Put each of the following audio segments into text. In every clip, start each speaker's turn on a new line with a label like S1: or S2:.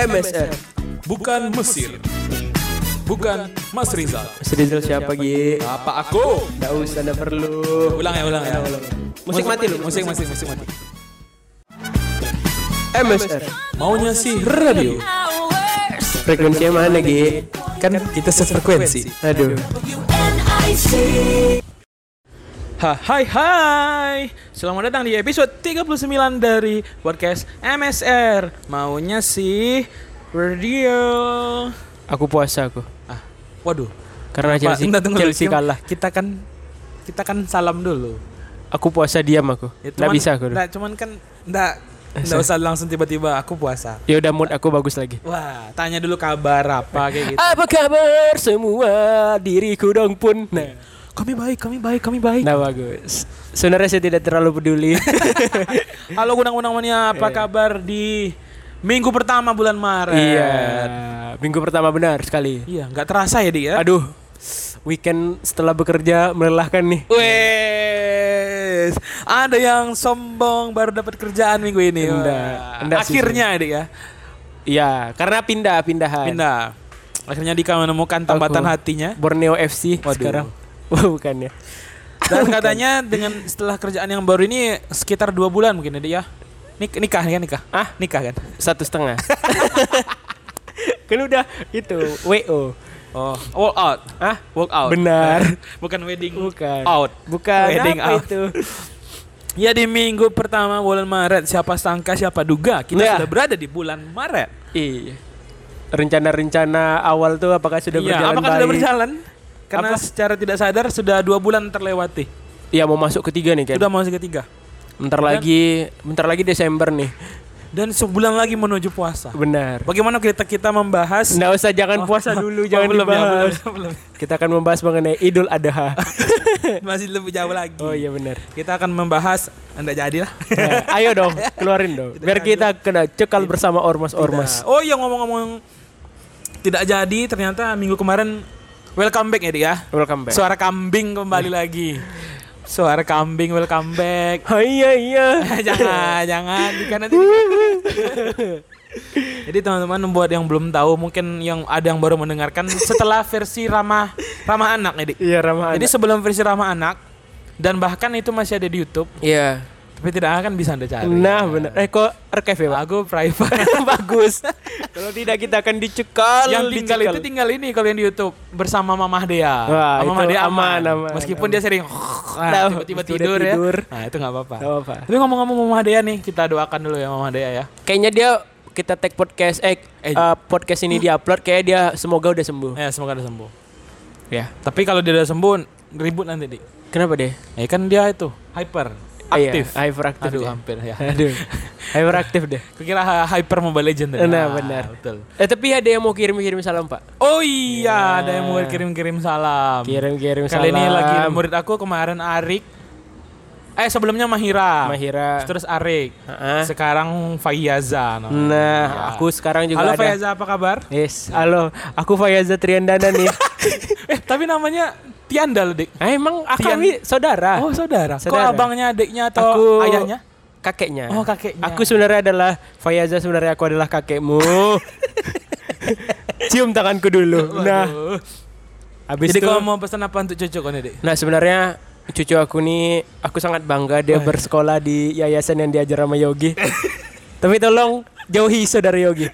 S1: MSR
S2: Bukan Mesir. Bukan Mas Rizal.
S1: Mas Rizal siapa Gi?
S2: Apa aku?
S1: Gak usah, gak perlu
S2: Ulang ya, ulang ya.
S1: Musik mati lu
S2: Musik, musik, musik mati.
S1: MSR
S2: Maunya sih radio.
S1: Frekuensinya mana Gi?
S2: Kan kita sefrekuensi.
S1: Aduh
S3: Ha, hai hai Selamat datang di episode 39 dari podcast MSR Maunya sih Radio
S4: Aku puasa aku
S3: ah, Waduh
S4: karena
S3: Pak,
S4: Chelsea,
S3: bentar, tunggu dulu.
S4: Chelsea
S3: Kita-
S4: kalah.
S3: Kita kan kita kan salam dulu
S4: Aku puasa diam aku.
S3: Ya,
S4: Nggak
S3: cuman-
S4: bisa aku.
S3: nggak, cuman kan nggak nggak usah langsung tiba-tiba aku puasa
S4: Ya udah mood aku bagus lagi.
S3: Wah tanya dulu kabar apa kayak gitu
S4: Apa kabar semua diriku dong pun. Nah,
S3: Kami baik, kami baik, kami baik
S4: nah bagus. Sebenarnya saya tidak terlalu peduli.
S3: Halo undang-undang mania apa kabar di minggu pertama bulan Maret
S4: iya. Minggu pertama benar sekali.
S3: Iya, nggak terasa ya dia.
S4: Aduh. Weekend setelah bekerja melelahkan nih.
S3: Wes, ada yang sombong baru dapat kerjaan minggu ini. Wah,
S4: Enggak, enggak sih,
S3: Akhirnya adik ya,
S4: Iya, karena pindah pindahan.
S3: pindah. Akhirnya Dika menemukan tambatan
S4: Aku.
S3: hatinya
S4: Borneo FC
S3: Waduh.
S4: sekarang. Wah, bukan ya.
S3: dan katanya dengan setelah kerjaan yang baru ini sekitar dua bulan mungkin adik ya. Nik nikah kan nikah?
S4: Ah?
S3: nikah kan?
S4: Satu setengah. kan udah itu WO.
S3: Oh, walk out,
S4: Ah,
S3: walk out.
S4: Benar.
S3: Bukan wedding.
S4: Bukan.
S3: Out.
S4: Bukan
S3: Wedding
S4: apa
S3: out.
S4: itu.
S3: Ya di minggu pertama bulan Maret siapa sangka siapa duga kita
S4: Iya.
S3: sudah berada di bulan Maret.
S4: Iya. Rencana-rencana awal tuh apakah sudah
S3: Iya,
S4: berjalan
S3: apakah
S4: baik?
S3: sudah berjalan? Karena
S4: Apa?
S3: secara tidak sadar sudah dua bulan terlewati.
S4: Iya, mau masuk ketiga nih, Ken.
S3: Sudah masuk ketiga.
S4: Bentar lagi, bentar lagi Desember nih.
S3: Dan sebulan lagi menuju puasa.
S4: Benar.
S3: Bagaimana kita kita membahas
S4: Nggak usah jangan puasa dulu, jangan
S3: Oh. belum, ya,
S4: dibahas.
S3: belum, belum.
S4: Kita akan membahas mengenai Idul Adha.
S3: masih lebih jauh lagi.
S4: oh iya benar.
S3: Kita akan membahas Anda jadilah.
S4: Nah, ayo dong, keluarin dong. Biar kita kena cekal bersama ormas-ormas.
S3: Oh iya ngomong-ngomong tidak jadi ternyata minggu kemarin welcome back ya Dik, ya.
S4: Welcome back. Iya.
S3: Suara kambing kembali lagi. Suara kambing welcome back.
S4: Hai, iya iya.
S3: jangan jangan Dika nanti jadi teman-teman buat yang belum tahu mungkin yang ada yang baru mendengarkan setelah versi ramah ramah anak nih Dik.
S4: Iya Ramahan.
S3: jadi sebelum versi ramah anak dan bahkan itu masih ada di YouTube
S4: iya.
S3: tapi tidak akan bisa anda cari
S4: Nah, benar. Eh kok archive ya, Pak?
S3: aku private
S4: Bagus. Kalau tidak kita akan dicekal.
S3: yang tinggal
S4: dicekal.
S3: itu tinggal ini kalau yang di YouTube bersama Mamah Dea.
S4: Wah,
S3: Mamah
S4: itu aman, aman,
S3: Meskipun
S4: aman.
S3: dia sering
S4: Tahu,
S3: nah, tiba-tiba
S4: mesti udah
S3: tidur,
S4: tidur.
S3: ya. Nah, itu nggak apa-apa.
S4: Nggak apa-apa.
S3: Tapi ngomong-ngomong Mamah Dea nih, kita doakan dulu ya Mamah Dea ya.
S4: Kayaknya dia kita tag podcast eh,
S3: Eh.
S4: eh, podcast ini diupload kayak dia semoga udah sembuh.
S3: Ya, semoga dia sembuh.
S4: Ya.
S3: Tapi kalau dia udah sembuh, ribut nanti, Dik.
S4: Kenapa deh?
S3: Ya kan dia itu, hyper, aktif.
S4: Iya, hyperaktif.
S3: Aduh,
S4: dia.
S3: hampir ya.
S4: Aduh. hyperaktif deh.
S3: Kira hyper Mobile Legend.
S4: Nah, benar.
S3: Betul.
S4: Eh tapi ada yang mau kirim-kirim salam, Pak.
S3: Oh iya, ada yang mau kirim-kirim salam.
S4: Kirim-kirim salam.
S3: Kali ini lagi murid aku kemarin Arik. Eh, sebelumnya Mahira.
S4: Mahira.
S3: Terus Arik.
S4: Ha-ha.
S3: Sekarang Fayaza. namanya.
S4: Nah,
S3: Iya.
S4: aku sekarang juga
S3: Halo
S4: ada.
S3: Fayaza, apa kabar?
S4: Yes. Halo, aku Fayaza Triandana nih.
S3: eh, tapi namanya Tiandal, Dik.
S4: ah, emang ah,
S3: Trian-
S4: kami saudara.
S3: Oh, saudara. Kok
S4: Saudara.
S3: abangnya, adiknya atau
S4: eh? Aku-
S3: ayahnya?
S4: kakeknya.
S3: Oh, kakeknya.
S4: Aku sebenarnya adalah Fayaza sebenarnya aku adalah kakekmu. Cium tanganku dulu. Nah,
S3: Waduh.
S4: habis
S3: Jadi
S4: itu
S3: kalau mau pesan apa untuk cucu kau nih, Dek?
S4: Nah, sebenarnya cucu aku nih aku sangat bangga dia bersekolah di yayasan yang diajar sama Yogi. Tapi tolong jauhi saudara Yogi.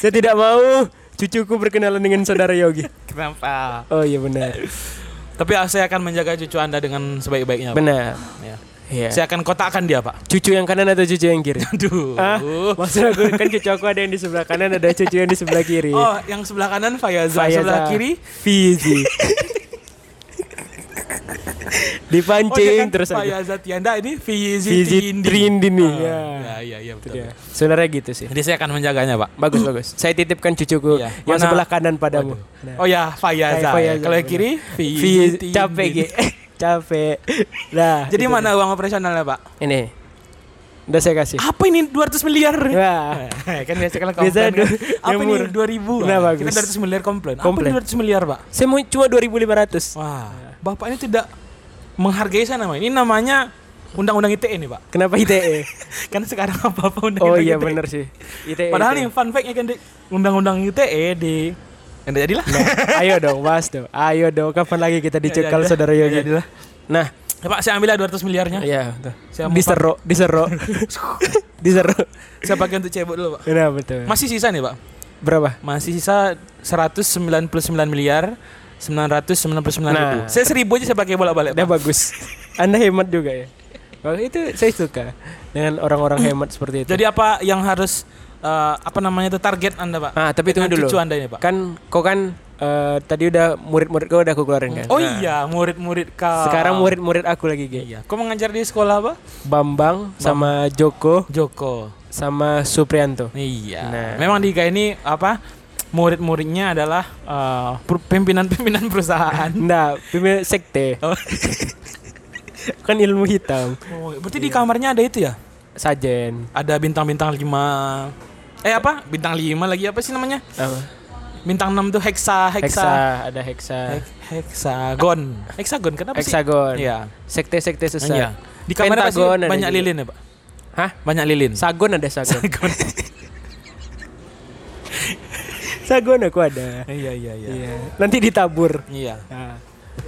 S4: Saya tidak mau cucuku berkenalan dengan saudara Yogi.
S3: Kenapa?
S4: Oh iya benar.
S3: Tapi ah, saya akan menjaga cucu Anda dengan sebaik-baiknya. Pak.
S4: Benar.
S3: Ya.
S4: Iya.
S3: Saya akan kotakkan dia, Pak.
S4: Cucu yang kanan atau cucu yang kiri?
S3: Aduh.
S4: Ah, maksud aku kan cucu aku ada yang di sebelah kanan ada cucu yang di sebelah kiri.
S3: Oh, yang sebelah kanan Fayaza,
S4: Fayaza.
S3: sebelah kiri
S4: Fizi.
S3: Oh, dia
S4: Dipancing
S3: kan
S4: terus aja.
S3: Fayaza Tianda ini Fizi
S4: Fizi
S3: Trindi.
S4: Trindini.
S3: Ah,
S4: Ya.
S3: Ya, iya, iya betul.
S4: Ya. Sebenarnya gitu sih.
S3: Jadi saya akan menjaganya, Pak.
S4: Bagus bagus. Saya titipkan cucuku
S3: Iya. Mana-
S4: yang sebelah kanan padamu. Nah.
S3: Oh ya, Fayaza.
S4: Kayak Fayaza,
S3: Kalau yang
S4: benar.
S3: kiri
S4: Fizi-
S3: Fizi
S4: capek
S3: Trindi.
S4: Gi. capek. Nah.
S3: Jadi
S4: itu
S3: mana uang operasionalnya, Pak?
S4: dia. Ini. Udah saya kasih.
S3: Apa ini 200 miliar?
S4: Wah.
S3: kan biasa kalau
S4: Biasa
S3: komplain kan.
S4: du-
S3: Apa ini
S4: nyemur.
S3: 2000?
S4: Nah,
S3: Kita
S4: bagus.
S3: 200 miliar komplain.
S4: Komplain. Iya.
S3: Apa ini 200 miliar, Pak?
S4: Saya mau cuma 2500.
S3: Wah, Bapak ini tidak menghargai saya namanya. Ini namanya Undang-undang ITE nih, Pak.
S4: Kenapa ITE?
S3: Kan sekarang apa-apa
S4: oh
S3: undang-undang
S4: iya
S3: ITE.
S4: bener sih. E
S3: E?
S4: ITE.
S3: Padahal
S4: ITE.
S3: nih fun fact-nya kan di undang-undang ITE di yang tidak jadilah.
S4: Ayo dong, bahas dong. Ayo dong, kapan lagi kita
S3: Ya,
S4: dicekal
S3: ya,
S4: saudara
S3: ya, ya,
S4: Yogi?
S3: ya.
S4: Nah,
S3: Ya, Pak, saya ambil 200 miliarnya.
S4: iya betul.
S3: Saya mau
S4: Disero, disero. disero.
S3: Saya pakai untuk cebok dulu, Pak.
S4: Nah, betul.
S3: Masih sisa nih, Pak.
S4: Berapa?
S3: Masih sisa 199 miliar 999 ribu.
S4: Nah.
S3: Saya seribu aja saya pakai bolak-balik.
S4: Udah
S3: Pak.
S4: bagus. Anda hemat juga ya. Wah, itu saya suka dengan orang-orang hemat seperti itu.
S3: Jadi apa yang harus eh, apa namanya itu target Anda, Pak?
S4: ah, tapi tunggu
S3: Dengan
S4: dulu.
S3: Cucu Anda ini, Pak.
S4: Kan kau kan eh, tadi udah murid-murid kau udah aku keluarin kan.
S3: Oh iya, murid-murid kau.
S4: Sekarang murid-murid aku lagi, Ge.
S3: Iya. Kau mengajar di sekolah apa?
S4: Bambang sama Joko
S3: Joko.
S4: sama Suprianto.
S3: Iya.
S4: Nah.
S3: Memang di IKA ini apa? Murid-muridnya adalah eh, per- pimpinan-pimpinan perusahaan.
S4: Nah, pemimpin sekte.
S3: Oh.
S4: kan ilmu hitam.
S3: Oh, berarti
S4: Iya.
S3: di kamarnya ada itu ya?
S4: Sajen.
S3: Ada bintang-bintang 5. Eh apa? Bintang 5 lagi apa sih namanya?
S4: Apa?
S3: Bintang 6 tuh hexa,
S4: Heksa,
S3: hexa.
S4: ada heksa.
S3: Hek- hexagon. Hexagon kenapa sih?
S4: Heksagon.
S3: Iya.
S4: Sekte-sekte sesat.
S3: Iya. Di kamar pasti
S4: Pentagon ada
S3: banyak
S4: juga.
S3: lilin ya, Pak?
S4: Hah?
S3: Banyak lilin.
S4: Sagon ada sagon.
S3: Hexagon.
S4: sagon aku ada.
S3: iya, iya, iya.
S4: Iya. Nanti ditabur.
S3: Iya.
S4: Nah.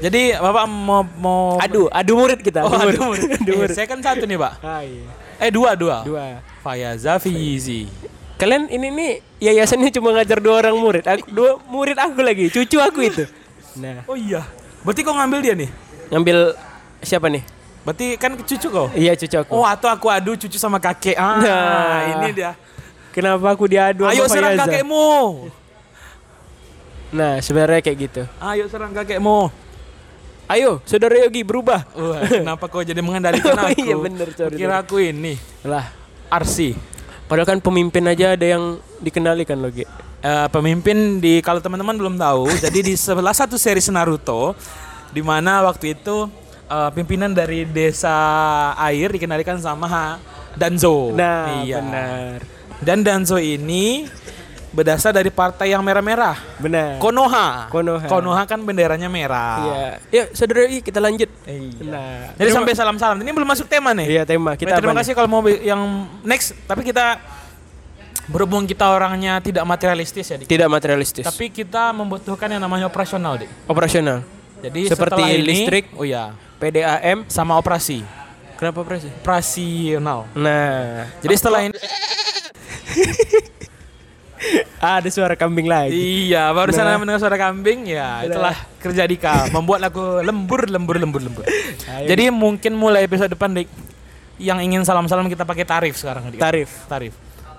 S3: Jadi Bapak mau mau
S4: Adu, adu murid kita.
S3: Oh, aduh. murid.
S4: adu
S3: Eh,
S4: murid.
S3: saya kan satu nih, Pak.
S4: Ah, iya.
S3: Eh, dua, dua.
S4: Dua.
S3: Fayaza Fizi.
S4: Kalian ini nih yayasannya cuma ngajar dua orang murid. Aku, dua murid aku lagi, cucu aku itu. Nah,
S3: Oh iya. Berarti kau ngambil dia nih?
S4: ngambil siapa nih?
S3: Berarti kan cucu kau.
S4: Iya, cucu aku.
S3: Oh, atau aku adu cucu sama kakek. Ah,
S4: Nah.
S3: ini dia.
S4: Kenapa aku diadu
S3: Ayo
S4: sama
S3: serang
S4: Fayaza?
S3: kakekmu.
S4: Nah, sebenarnya kayak gitu.
S3: Ayo serang kakekmu.
S4: Ayo, saudara Yogi berubah.
S3: Wah, kenapa kau jadi mengendalikan
S4: Oh
S3: aku?
S4: iya, bener, sorry,
S3: Kira aku ini
S4: Lah,
S3: Arsi.
S4: padahal kan pemimpin aja ada yang kan, dikendalikan loh, Ge.
S3: Eh, pemimpin di kalau teman-teman belum tahu, jadi di sebelah satu seri Naruto di mana waktu itu eh, pimpinan dari desa air dikendalikan sama Ha- Danzo.
S4: Nah,
S3: Iya.
S4: benar.
S3: Dan Danzo ini berdasar dari partai yang merah-merah.
S4: Benar.
S3: Konoha.
S4: Konoha.
S3: kan benderanya merah.
S4: Iya. Ya, saudara Yogi kita lanjut.
S3: Iya.
S4: Nah,
S3: Jadi sampai salam-salam. Ini belum masuk tema nih.
S4: Iya, tema kita
S3: terima
S4: apa nih?
S3: kasih kalau mau be- yang next, tapi kita berhubung kita orangnya tidak materialistis ya, Dik.
S4: Tidak materialistis.
S3: Tapi kita membutuhkan yang namanya operasional, Dik.
S4: Operasional.
S3: Jadi
S4: Seperti
S3: setelah ini-
S4: listrik.
S3: oh ya,
S4: PDAM.
S3: sama operasi,
S4: Kenapa presi?
S3: operasional.
S4: Nah,
S3: Jadi setelah ini,
S4: ada suara kambing lagi.
S3: iya, barusan saya mendengar suara kambing, ya itulah kerja Dika, membuat aku lembur, lembur, lembur, lembur. Jadi mungkin mulai episode depan, Dik, yang ingin salam-salam kita pakai tarif sekarang, Dik.
S4: Iya, Tarif.
S3: tarif.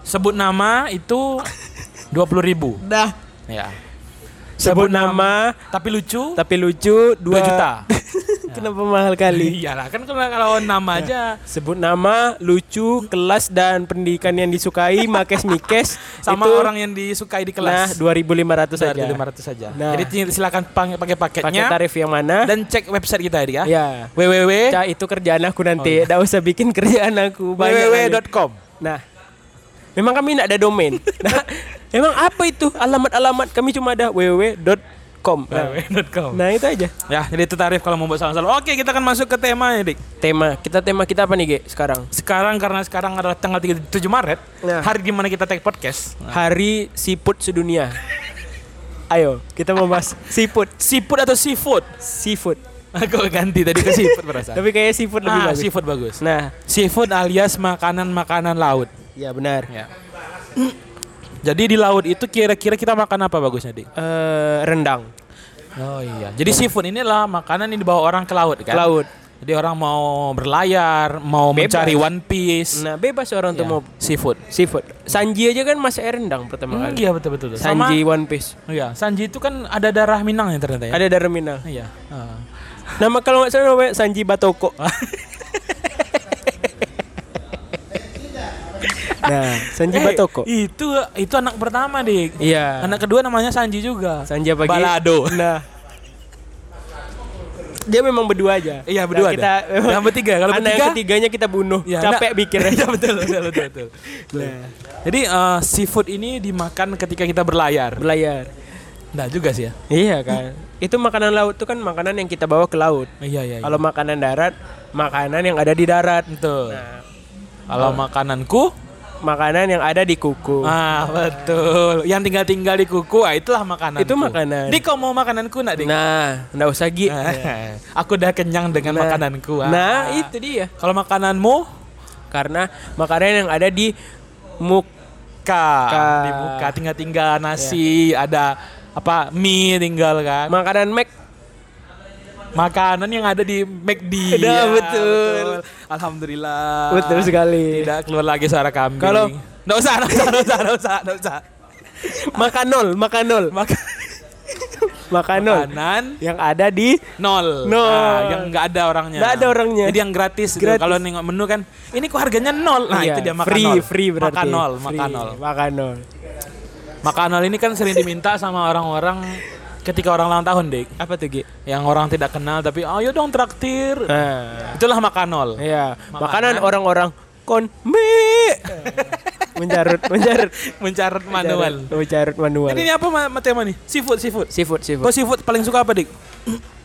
S3: Sebut nama itu dua puluh ribu.
S4: Dah.
S3: Ya.
S4: Sebut nama
S3: Tapi lucu.
S4: tapi lucu 2
S3: 2 juta.
S4: Kenapa mahal kali?
S3: Iyalah kan kalau, kalau nama aja.
S4: Iya. Sebut nama, lucu, kelas dan pendidikan yang disukai, makes mikes
S3: Sama
S4: itu,
S3: orang yang disukai di
S4: Nah,
S3: kelas.
S4: 2500 saja.
S3: lima ratus saja.
S4: Nah.
S3: Jadi silakan pang- pakai
S4: Pakai eh.
S3: paketnya
S4: tarif yang mana?
S3: dan Eh. cek website kita ya. Dik, ya.
S4: ya.
S3: www
S4: Cah, itu kerjaan
S3: Oh,
S4: aku
S3: iya.
S4: nanti. Enggak usah bikin kerjaan aku. Banyak kali.
S3: www.com.
S4: Nah, memang kami tidak ada domain. Nah, emang apa itu alamat-alamat kami cuma ada www.com. Nah,
S3: www.com.
S4: nah, itu aja.
S3: Ya, jadi itu tarif kalau mau buat salam-salam. Oke, kita akan masuk ke tema ya, Dik.
S4: Tema kita tema kita apa nih, Ge, sekarang?
S3: Sekarang karena sekarang adalah tanggal 37 Maret,
S4: Nah.
S3: hari di mana kita take podcast.
S4: Hari siput sedunia. Ayo, kita membahas siput,
S3: Seafood atau seafood?
S4: seafood.
S3: Aku ganti tadi ke seafood perasaan.
S4: Tapi kayaknya seafood lebih
S3: ah,
S4: bagus.
S3: seafood bagus.
S4: Nah,
S3: Seafood alias makanan-makanan laut.
S4: ya benar.
S3: Ya. Jadi di laut itu kira-kira kita makan apa bagusnya, Dik?
S4: Eh, rendang,
S3: Oh iya. Jadi seafood ini lah makanan yang dibawa orang ke laut kan?
S4: laut.
S3: Jadi orang mau berlayar, mau
S4: Bebas.
S3: mencari one piece.
S4: Nah, bebas orang
S3: Ya,
S4: tuh mau
S3: seafood.
S4: seafood. Sanji aja kan masih rendang pertama
S3: Hmm,
S4: kali.
S3: iya betul betul. betul. Sama-
S4: Sanji One Piece.
S3: Iya, Sanji itu kan ada darah Minang ya ternyata ya.
S4: Ada dari Minang.
S3: Iya. Ah.
S4: Nama kalau nggak salah namanya Sanji Batoko. nah, Sanji
S3: Eh,
S4: Batoko.
S3: Itu itu anak pertama, Dik.
S4: Iya.
S3: Anak kedua namanya Sanji juga.
S4: Sanji apa Gi?
S3: Balado.
S4: Nah. Dia memang berdua aja.
S3: Iya, berdua
S4: Nah, kita
S3: ada. Yang bertiga, kalau
S4: anak
S3: bertiga-
S4: yang ketiganya kita bunuh.
S3: Iya,
S4: Capek
S3: anak-
S4: mikirnya.
S3: Iya, betul, betul, betul, betul.
S4: Nah,
S3: Jadi eh, seafood ini dimakan ketika kita berlayar.
S4: berlayar.
S3: Nggak juga sih ya.
S4: Iya kan. Itu makanan laut tuh kan makanan yang kita bawa ke laut.
S3: Iya iya. iya.
S4: Kalau makanan darat, makanan yang ada di darat.
S3: betul.
S4: Nah,
S3: Kalau makananku,
S4: makanan yang ada di kuku.
S3: ah betul. Yang tinggal-tinggal di kuku, ah, itulah makanan.
S4: Itu makanan.
S3: Dik, kau mau makananku nggak, Dik?
S4: Nah, nggak usah Gi.
S3: Ah, aku udah kenyang dengan makananku. ah.
S4: Nah, itu dia.
S3: Kalau makananmu,
S4: Karena makanan yang ada di muk
S3: ka,
S4: Ka.
S3: di muka tinggal-tinggal nasi,
S4: Iya.
S3: ada apa mie tinggal kan.
S4: makanan Mac
S3: Makanan yang ada di McD.
S4: Iya,
S3: Ya,
S4: betul.
S3: Alhamdulillah.
S4: betul sekali.
S3: Ah, Tidak keluar lagi suara kambing.
S4: Kalau-
S3: nggak usah, nggak usah, nggak usah, nggak usah, nggak usah.
S4: Makanol, makanol,
S3: Maka-
S4: makanol.
S3: Makanan
S4: Yang ada di
S3: nol.
S4: Nol.
S3: Ah, yang nggak ada orangnya.
S4: Nggak ada orangnya.
S3: Jadi yang gratis. gitu.
S4: Gratis.
S3: Kalau nengok menu kan, ini kok harganya nol. Nah
S4: Iya,
S3: itu dia makan
S4: free,
S3: nol.
S4: free berarti.
S3: Makan nol,
S4: Free,
S3: makan nol.
S4: makan nol.
S3: Makan nol ini kan sering diminta sama orang-orang ketika orang ulang tahun, Dik.
S4: Apa tuh Gi?
S3: Yang orang tidak kenal tapi ayo dong traktir.
S4: Nah,
S3: Itulah makan nol.
S4: iya.
S3: Makanan.
S4: Makanan orang-orang konme. menjarut, menjarut.
S3: Mencarat manual.
S4: Menjarut manual.
S3: Jadi ini apa ma- ma- tema nih? Seafood, seafood.
S4: Seafood,
S3: Kau
S4: seafood.
S3: seafood paling suka apa, Dik?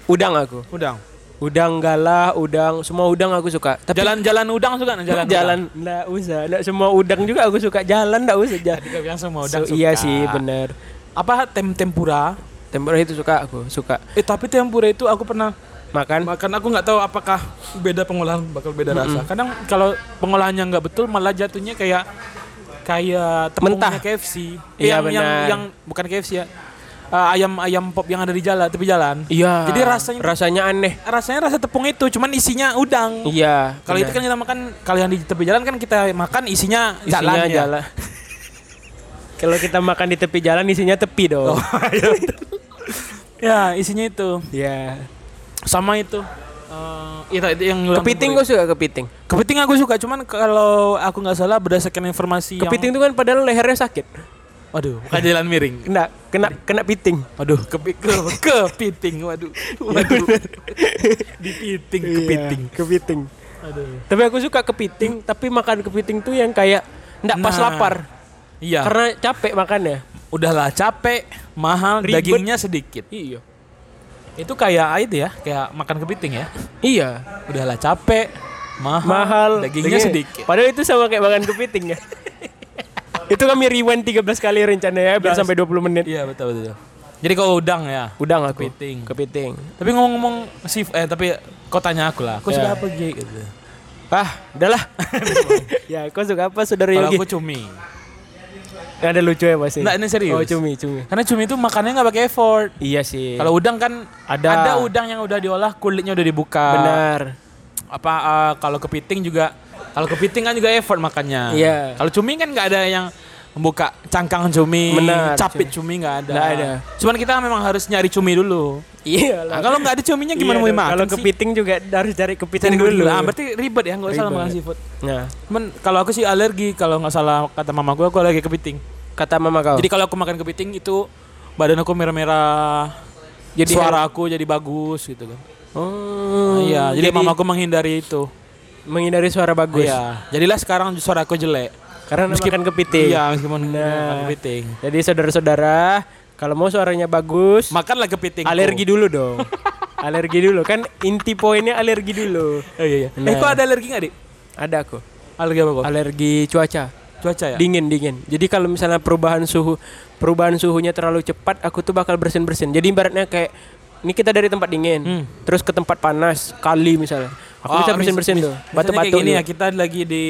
S4: Udang aku.
S3: Udang.
S4: Udang galah, udang, semua udang aku suka. Tapi
S3: Jalan-jalan udang suka nggak?
S4: jalan
S3: Jalan
S4: jalan enggak usah. Enggak semua udang juga aku suka. Jalan enggak usah. Jalan.
S3: Gak bilang semua udang
S4: So, Iya
S3: suka.
S4: sih, bener.
S3: Apa tem tempura?
S4: Tempura itu suka aku, suka.
S3: Eh tapi tempura itu aku pernah
S4: Makan
S3: makan aku nggak tahu apakah beda pengolahan bakal beda rasa. Kadang kalau pengolahannya nggak betul malah jatuhnya kayak kayak tepungnya
S4: Mentah.
S3: KFC.
S4: Iya,
S3: yang, yang
S4: benar.
S3: yang bukan KFC ya. Eh, ayam ayam pop yang ada di jalan tepi jalan.
S4: Iya.
S3: Jadi rasanya
S4: rasanya aneh.
S3: rasanya rasa tepung itu cuman isinya udang.
S4: Iya.
S3: Kalau itu
S4: benar.
S3: kan kita makan kalau yang di tepi jalan kan kita makan isinya,
S4: Isinya
S3: jalan ya.
S4: jalan. Kalau kita makan di tepi jalan isinya tepi
S3: Oh.
S4: dong.
S3: Ya, isinya itu.
S4: Iya.
S3: Sama itu. Eh, itu- itu yang
S4: Kepiting gue suka kepiting.
S3: Kepiting aku suka, cuman kalau aku nggak salah berdasarkan informasi
S4: Kepiting
S3: yang...
S4: itu kan padahal lehernya sakit.
S3: Waduh, bukan jalan miring.
S4: Kena kena kena piting.
S3: Waduh, kepi ke, kepiting, waduh. Waduh. Dipiting, kepiting.
S4: Iya, kepiting.
S3: Aduh.
S4: Tapi aku suka kepiting, tapi makan kepiting tuh yang kayak ndak pas
S3: Nah.
S4: lapar.
S3: Iya.
S4: Karena capek makannya.
S3: udahlah capek, mahal,
S4: Ribet.
S3: dagingnya sedikit.
S4: Iya.
S3: Itu kayak itu ya, kayak makan kepiting ya.
S4: Iya.
S3: Udahlah capek, mahal,
S4: Mahal.
S3: dagingnya
S4: Dagingnya-
S3: sedikit.
S4: Padahal itu sama kayak makan kepiting ya. itu kami rewind 13 kali rencananya ya, biar sampai 20 menit.
S3: Iya, betul betul. Jadi kalau udang ya.
S4: Udang aku.
S3: Kepiting.
S4: Kepiting.
S3: Tapi ngomong-ngomong sih eh tapi kau tanya aku lah. Aku
S4: Iya.
S3: suka apa Gi? gitu.
S4: Ah, udahlah. ya, kau suka apa saudara
S3: Kalau
S4: Yogi?
S3: aku cumi.
S4: Nggak ada lucu ya pasti.
S3: Nggak, ini serius.
S4: Oh, cumi, cumi.
S3: Karena cumi itu makannya nggak pakai effort.
S4: Iya sih.
S3: Kalau udang kan ada.
S4: Ada.
S3: udang yang udah diolah, kulitnya udah dibuka.
S4: benar.
S3: Ah. Apa eh, kalau kepiting juga kalau kepiting kan juga effort makannya.
S4: Iya.
S3: Kalau cumi kan nggak ada yang membuka cangkang cumi,
S4: Benar,
S3: capit cumi nggak ada.
S4: Nggak ada.
S3: Cuman kita memang harus nyari cumi dulu.
S4: Iya
S3: Nah, kalau nggak ada cuminya gimana mau makan
S4: Kalau
S3: sih?
S4: kepiting juga harus cari kepiting
S3: Jadi gue
S4: dulu.
S3: bilang, ah, berarti ribet ya nggak usah
S4: Ribet.
S3: makan seafood.
S4: Nah,
S3: Cuman kalau aku sih alergi kalau nggak salah kata mama gue, aku alergi kepiting.
S4: kata mama kau.
S3: Jadi kalau aku makan kepiting itu badan aku merah-merah. Jadi
S4: Jadi
S3: suara aku jadi bagus gitu kan.
S4: oh,
S3: Iya, jadi, mamaku menghindari itu.
S4: menghindari suara bagus.
S3: Iya. Jadilah sekarang suara aku jelek.
S4: Karena makan kepiting.
S3: Iya, meskipun makan
S4: Nah.
S3: kepiting.
S4: Jadi saudara-saudara, kalau mau suaranya bagus,
S3: Makanlah kepiting.
S4: alergi dulu dong. alergi dulu kan inti poinnya alergi dulu.
S3: Oh, iya, iya. Eh,
S4: Nah.
S3: kok ada alergi nggak, Dik?
S4: Ada aku.
S3: Alergi apa kok?
S4: Alergi cuaca.
S3: Cuaca ya?
S4: dingin dingin jadi kalau misalnya perubahan suhu perubahan suhunya terlalu cepat aku tuh bakal bersin bersin jadi ibaratnya kayak ini kita dari tempat dingin terus ke tempat panas kali misalnya
S3: Hmm. Oh,
S4: aku bisa
S3: mis-
S4: bersin bersin
S3: mis-
S4: tuh
S3: misalnya
S4: batu
S3: kayak
S4: batu
S3: gini ya, kita lagi di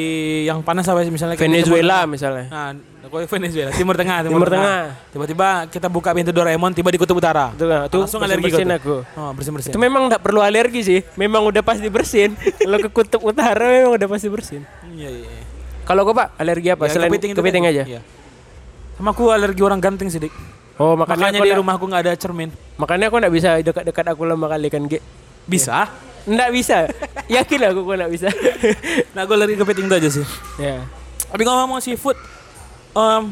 S3: yang panas apa sih misalnya kayak
S4: Venezuela
S3: di
S4: misalnya
S3: Timur- Nah, kok Venezuela, Timur Tengah,
S4: Timur Tengah.
S3: Tiba-tiba kita buka pintu Doraemon, tiba di Kutub Utara.
S4: Tuh, nah, tuh
S3: Langsung alergi
S4: bersin
S3: kau
S4: aku
S3: tuh. Oh, bersin-bersin.
S4: itu memang nggak perlu alergi sih memang udah pasti bersin kalau ke kutub utara memang udah pasti bersin
S3: Iya, iya. iya.
S4: kalau kau pak alergi apa
S3: Ya,
S4: selain
S3: kepiting
S4: kepiting,
S3: itu kan.
S4: aja
S3: Iya. Sama aku alergi orang ganteng sih, Dik.
S4: oh makanya,
S3: Makanya
S4: aku
S3: di
S4: nggak-
S3: rumahku nggak ada cermin.
S4: makanya aku nggak bisa dekat dekat aku lama kali kan Ge.
S3: Bisa.
S4: nggak bisa yakin aku kok nggak bisa
S3: Nah, gue alergi kepiting itu aja sih.
S4: ya
S3: Tapi ngomong seafood, em,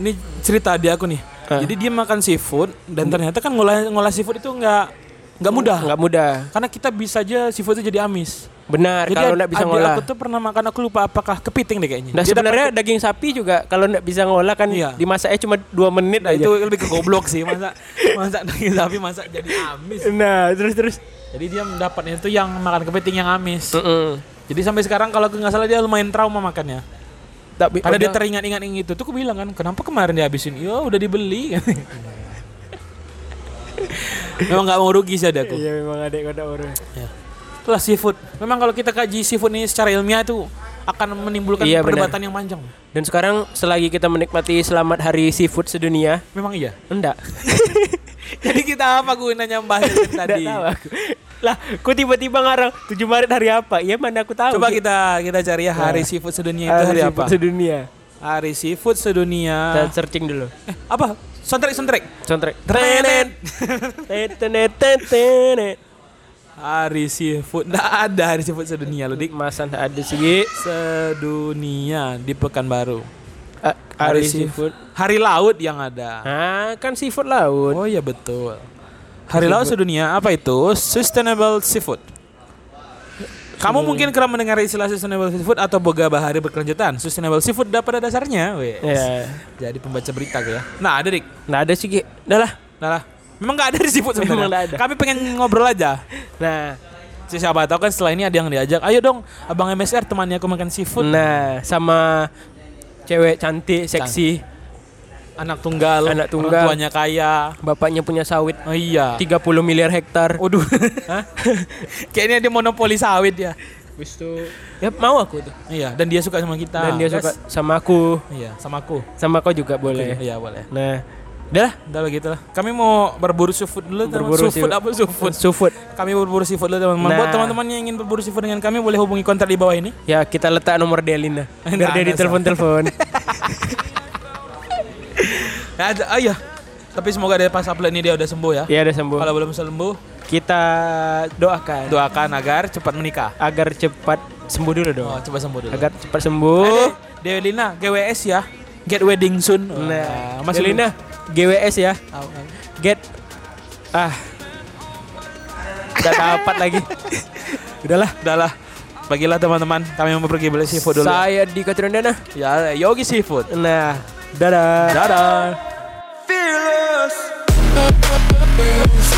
S3: ini cerita dia aku nih.
S4: Hah?
S3: Jadi dia makan seafood dan ternyata kan ngolah ngolah seafood itu nggak Nggak mudah.
S4: Ah, Nggak mudah.
S3: Karena kita bisa aja seafoodnya jadi amis.
S4: Benar, kalau
S3: ad-
S4: nggak bisa
S3: adik
S4: ngolah.
S3: Aku tuh pernah makan aku lupa apakah kepiting deh kayaknya.
S4: Nah
S3: Dia
S4: sebenarnya daging sapi juga kalau nggak bisa ngolah kan
S3: Iya.
S4: dimasaknya cuma dua menit
S3: dapat-
S4: aja.
S3: Nah, itu lebih ke goblok sih masa masa daging sapi masa jadi amis.
S4: Nah terus terus.
S3: Jadi dia mendapatnya itu yang makan kepiting yang amis. Jadi sampai sekarang kalau aku nggak salah dia lumayan trauma makannya.
S4: Tapi
S3: Karena dia
S4: udah-
S3: teringat-ingat yang itu. Tuh aku bilang kan, kenapa kemarin dihabisin? Ya udah dibeli. Memang nggak mau rugi sih ada aku. Ya.
S4: Iya memang ada kota orang.
S3: Itulah seafood. Memang kalau kita kaji seafood ini secara ilmiah itu akan menimbulkan
S4: Iya, benar.
S3: perdebatan yang panjang.
S4: Dan sekarang selagi kita menikmati selamat hari seafood sedunia,
S3: Memang iya.
S4: enggak.
S3: Jadi kita apa gunanya bahas yang tadi?
S4: Enggak tahu aku. Lah, aku tiba-tiba ngarang 7 Maret hari apa? Ya mana aku tahu.
S3: Coba kita kita cari ya hari seafood sedunia itu hari, apa?
S4: Sedunia.
S3: Hari seafood sedunia.
S4: Kita searching dulu.
S3: Eh, apa? Soundtrack soundtrack.
S4: Soundtrack.
S3: Trenet.
S4: Tenet, tenet, tenet.
S3: Hari seafood. Nggak ada hari seafood sedunia loh, Dik.
S4: Masa nggak ada sih.
S3: Sedunia di Pekanbaru.
S4: Ah, Hari seafood.
S3: Hari laut yang ada.
S4: Ah, kan seafood laut.
S3: Oh iya betul. Hari laut sedunia apa itu? Sustainable seafood. Kamu mungkin kerap mendengar istilah sustainable seafood atau boga bahari berkelanjutan. Sustainable seafood dah pada dasarnya. Wes.
S4: Ya.
S3: Jadi pembaca berita gue ya. Nah, ada dik.
S4: Nah, ada sih. Gi. Udah lah.
S3: Nah lah. Memang nggak ada di seafood sebenarnya.
S4: Memang nggak ada.
S3: Kami pengen ngobrol aja.
S4: Nah,
S3: Si siapa tahu kan setelah ini ada yang diajak. Ayo dong, abang MSR temannya aku makan seafood.
S4: nah sama cewek cantik, seksi,
S3: Anak tunggal.
S4: Hmm. Anak
S3: orang
S4: tunggal.
S3: tuanya kaya.
S4: bapaknya punya sawit
S3: Oh iya.
S4: 30 miliar hektar.
S3: Waduh. Hah? Kayaknya dia monopoli sawit ya.
S4: Ya, mau aku tuh.
S3: Iya, dan dia suka sama kita.
S4: Dan dia
S3: Guys.
S4: suka sama aku,
S3: Iya, sama aku.
S4: sama kau juga boleh.
S3: Iya, boleh.
S4: Nah, udah lah.
S3: Udah begitu lah. Kami mau berburu seafood dulu, teman.
S4: Berburu
S3: seafood
S4: seafood.
S3: apa seafood?
S4: Seafood.
S3: Kami berburu seafood dulu, teman-teman. Buat
S4: Nah.
S3: teman-teman yang ingin berburu seafood dengan kami boleh hubungi kontak di bawah ini.
S4: Ya, kita letak nomor Delina. Biar
S3: Nah,
S4: dia
S3: ada,
S4: ditelepon-telepon.
S3: Ya, ada, ah, iya. Tapi semoga dari pas upload ini dia udah sembuh ya.
S4: ya, udah sembuh.
S3: Kalau belum sembuh,
S4: Kita doakan
S3: doakan agar cepat menikah.
S4: agar cepat sembuh dulu dong.
S3: Oh, coba sembuh dulu.
S4: Agar cepat sembuh.
S3: Eh, Dewi Lina, GWS ya. Get wedding soon.
S4: Nah, Mas
S3: masih
S4: Delina, GWS ya.
S3: Ah, ah.
S4: Get ah Gak dapat lagi Udahlah
S3: Udahlah. Bagilah teman-teman, kami mau pergi beli seafood dulu.
S4: Saya di Katrina
S3: Ya, Yogi Seafood.
S4: Nah Dadah
S3: Dadah.
S1: Fearless.